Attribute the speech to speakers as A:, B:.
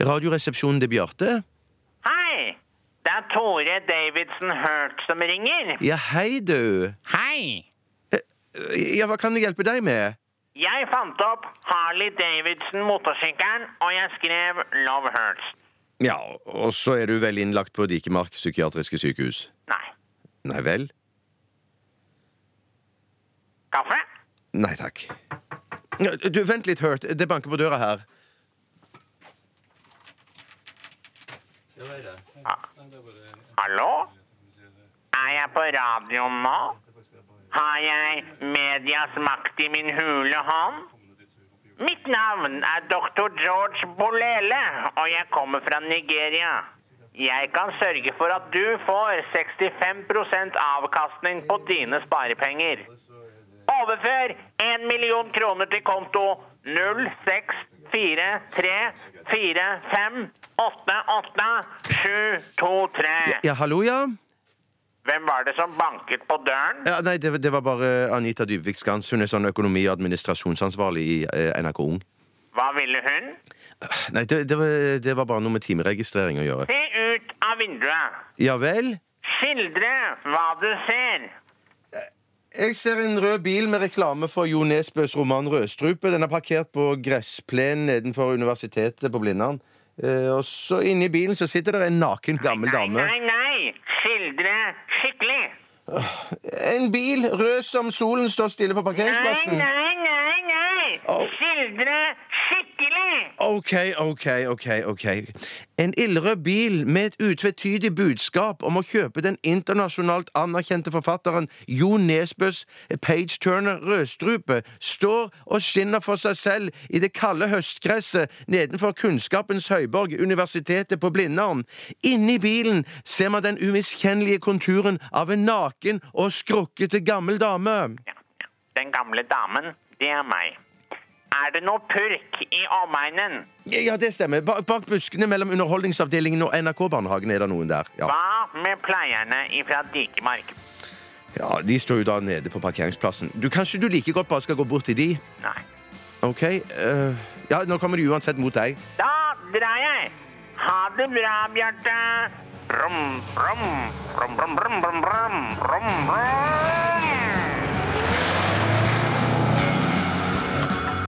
A: Radioresepsjonen til Bjarte.
B: Hei! Det er Tore Davidson Hurt som ringer.
A: Ja, hei, du. Eh,
C: Hei!
A: Ja, hva kan jeg hjelpe deg med?
B: Jeg fant opp Harley Davidson-motorsykkelen, og jeg skrev Love Hurts.
A: Ja, og så er du vel innlagt på Dikemark psykiatriske sykehus.
B: Nei.
A: Nei vel?
B: Kaffe?
A: Nei takk. Ja, Du, vent litt, Hurt. Det banker på døra her.
B: Hallo? Er jeg på radioen nå? Har jeg medias makt i min hule hånd? Mitt navn er dr. George Bolele, og jeg kommer fra Nigeria. Jeg kan sørge for at du får 65 avkastning på dine sparepenger. Overfør 1 million kroner til konto 064345887237.
A: Ja, hallo, ja?
B: Hvem var det som banket på døren?
A: ja nei, det, det var bare Anita Dybvik Skans. Hun er sånn økonomi- og administrasjonsansvarlig i eh, NRK Ung.
B: Hva ville hun?
A: Nei, det, det, var, det var bare noe med timeregistrering å gjøre.
B: Se ut av vinduet.
A: Ja vel?
B: Skildre hva du ser.
A: Jeg ser en rød bil med reklame for Jo Nesbøs roman 'Rødstrupe'. Den er parkert på gressplenen nedenfor universitetet på Blindern. Eh, og så Inni bilen så sitter det en naken, gammel dame.
B: Nei, nei, nei. Skildre skikkelig.
A: En bil rød som solen står stille på
B: Nei,
A: parkeringsplassen.
B: nei, nei, nei.
A: Au.
B: Skildre skikkelig.
A: OK, OK, OK. ok. En ildrød bil med et utvetydig budskap om å kjøpe den internasjonalt anerkjente forfatteren Jo Nesbøs Page Turner Rødstrupe står og skinner for seg selv i det kalde høstgresset nedenfor kunnskapens høyborg, universitetet på Blindern. Inni bilen ser man den umiskjennelige konturen av en naken og skrukkete gammel dame.
B: Ja, ja. Den gamle damen, det er meg. Er det noe purk i omegnen?
A: Ja, det stemmer. Bak, bak buskene mellom Underholdningsavdelingen og NRK-barnehagen er det noen der. Ja.
B: Hva med pleierne ifra Dikemark?
A: ja, De står jo da nede på parkeringsplassen. Du, Kanskje du like godt bare skal gå bort til de?
B: Nei.
A: OK? eh, ja, nå kommer de uansett mot deg.
B: Da drar jeg. Ha det bra, Bjarte. Brum, brum, brum, brum, brum, brum, brum, brum, brum.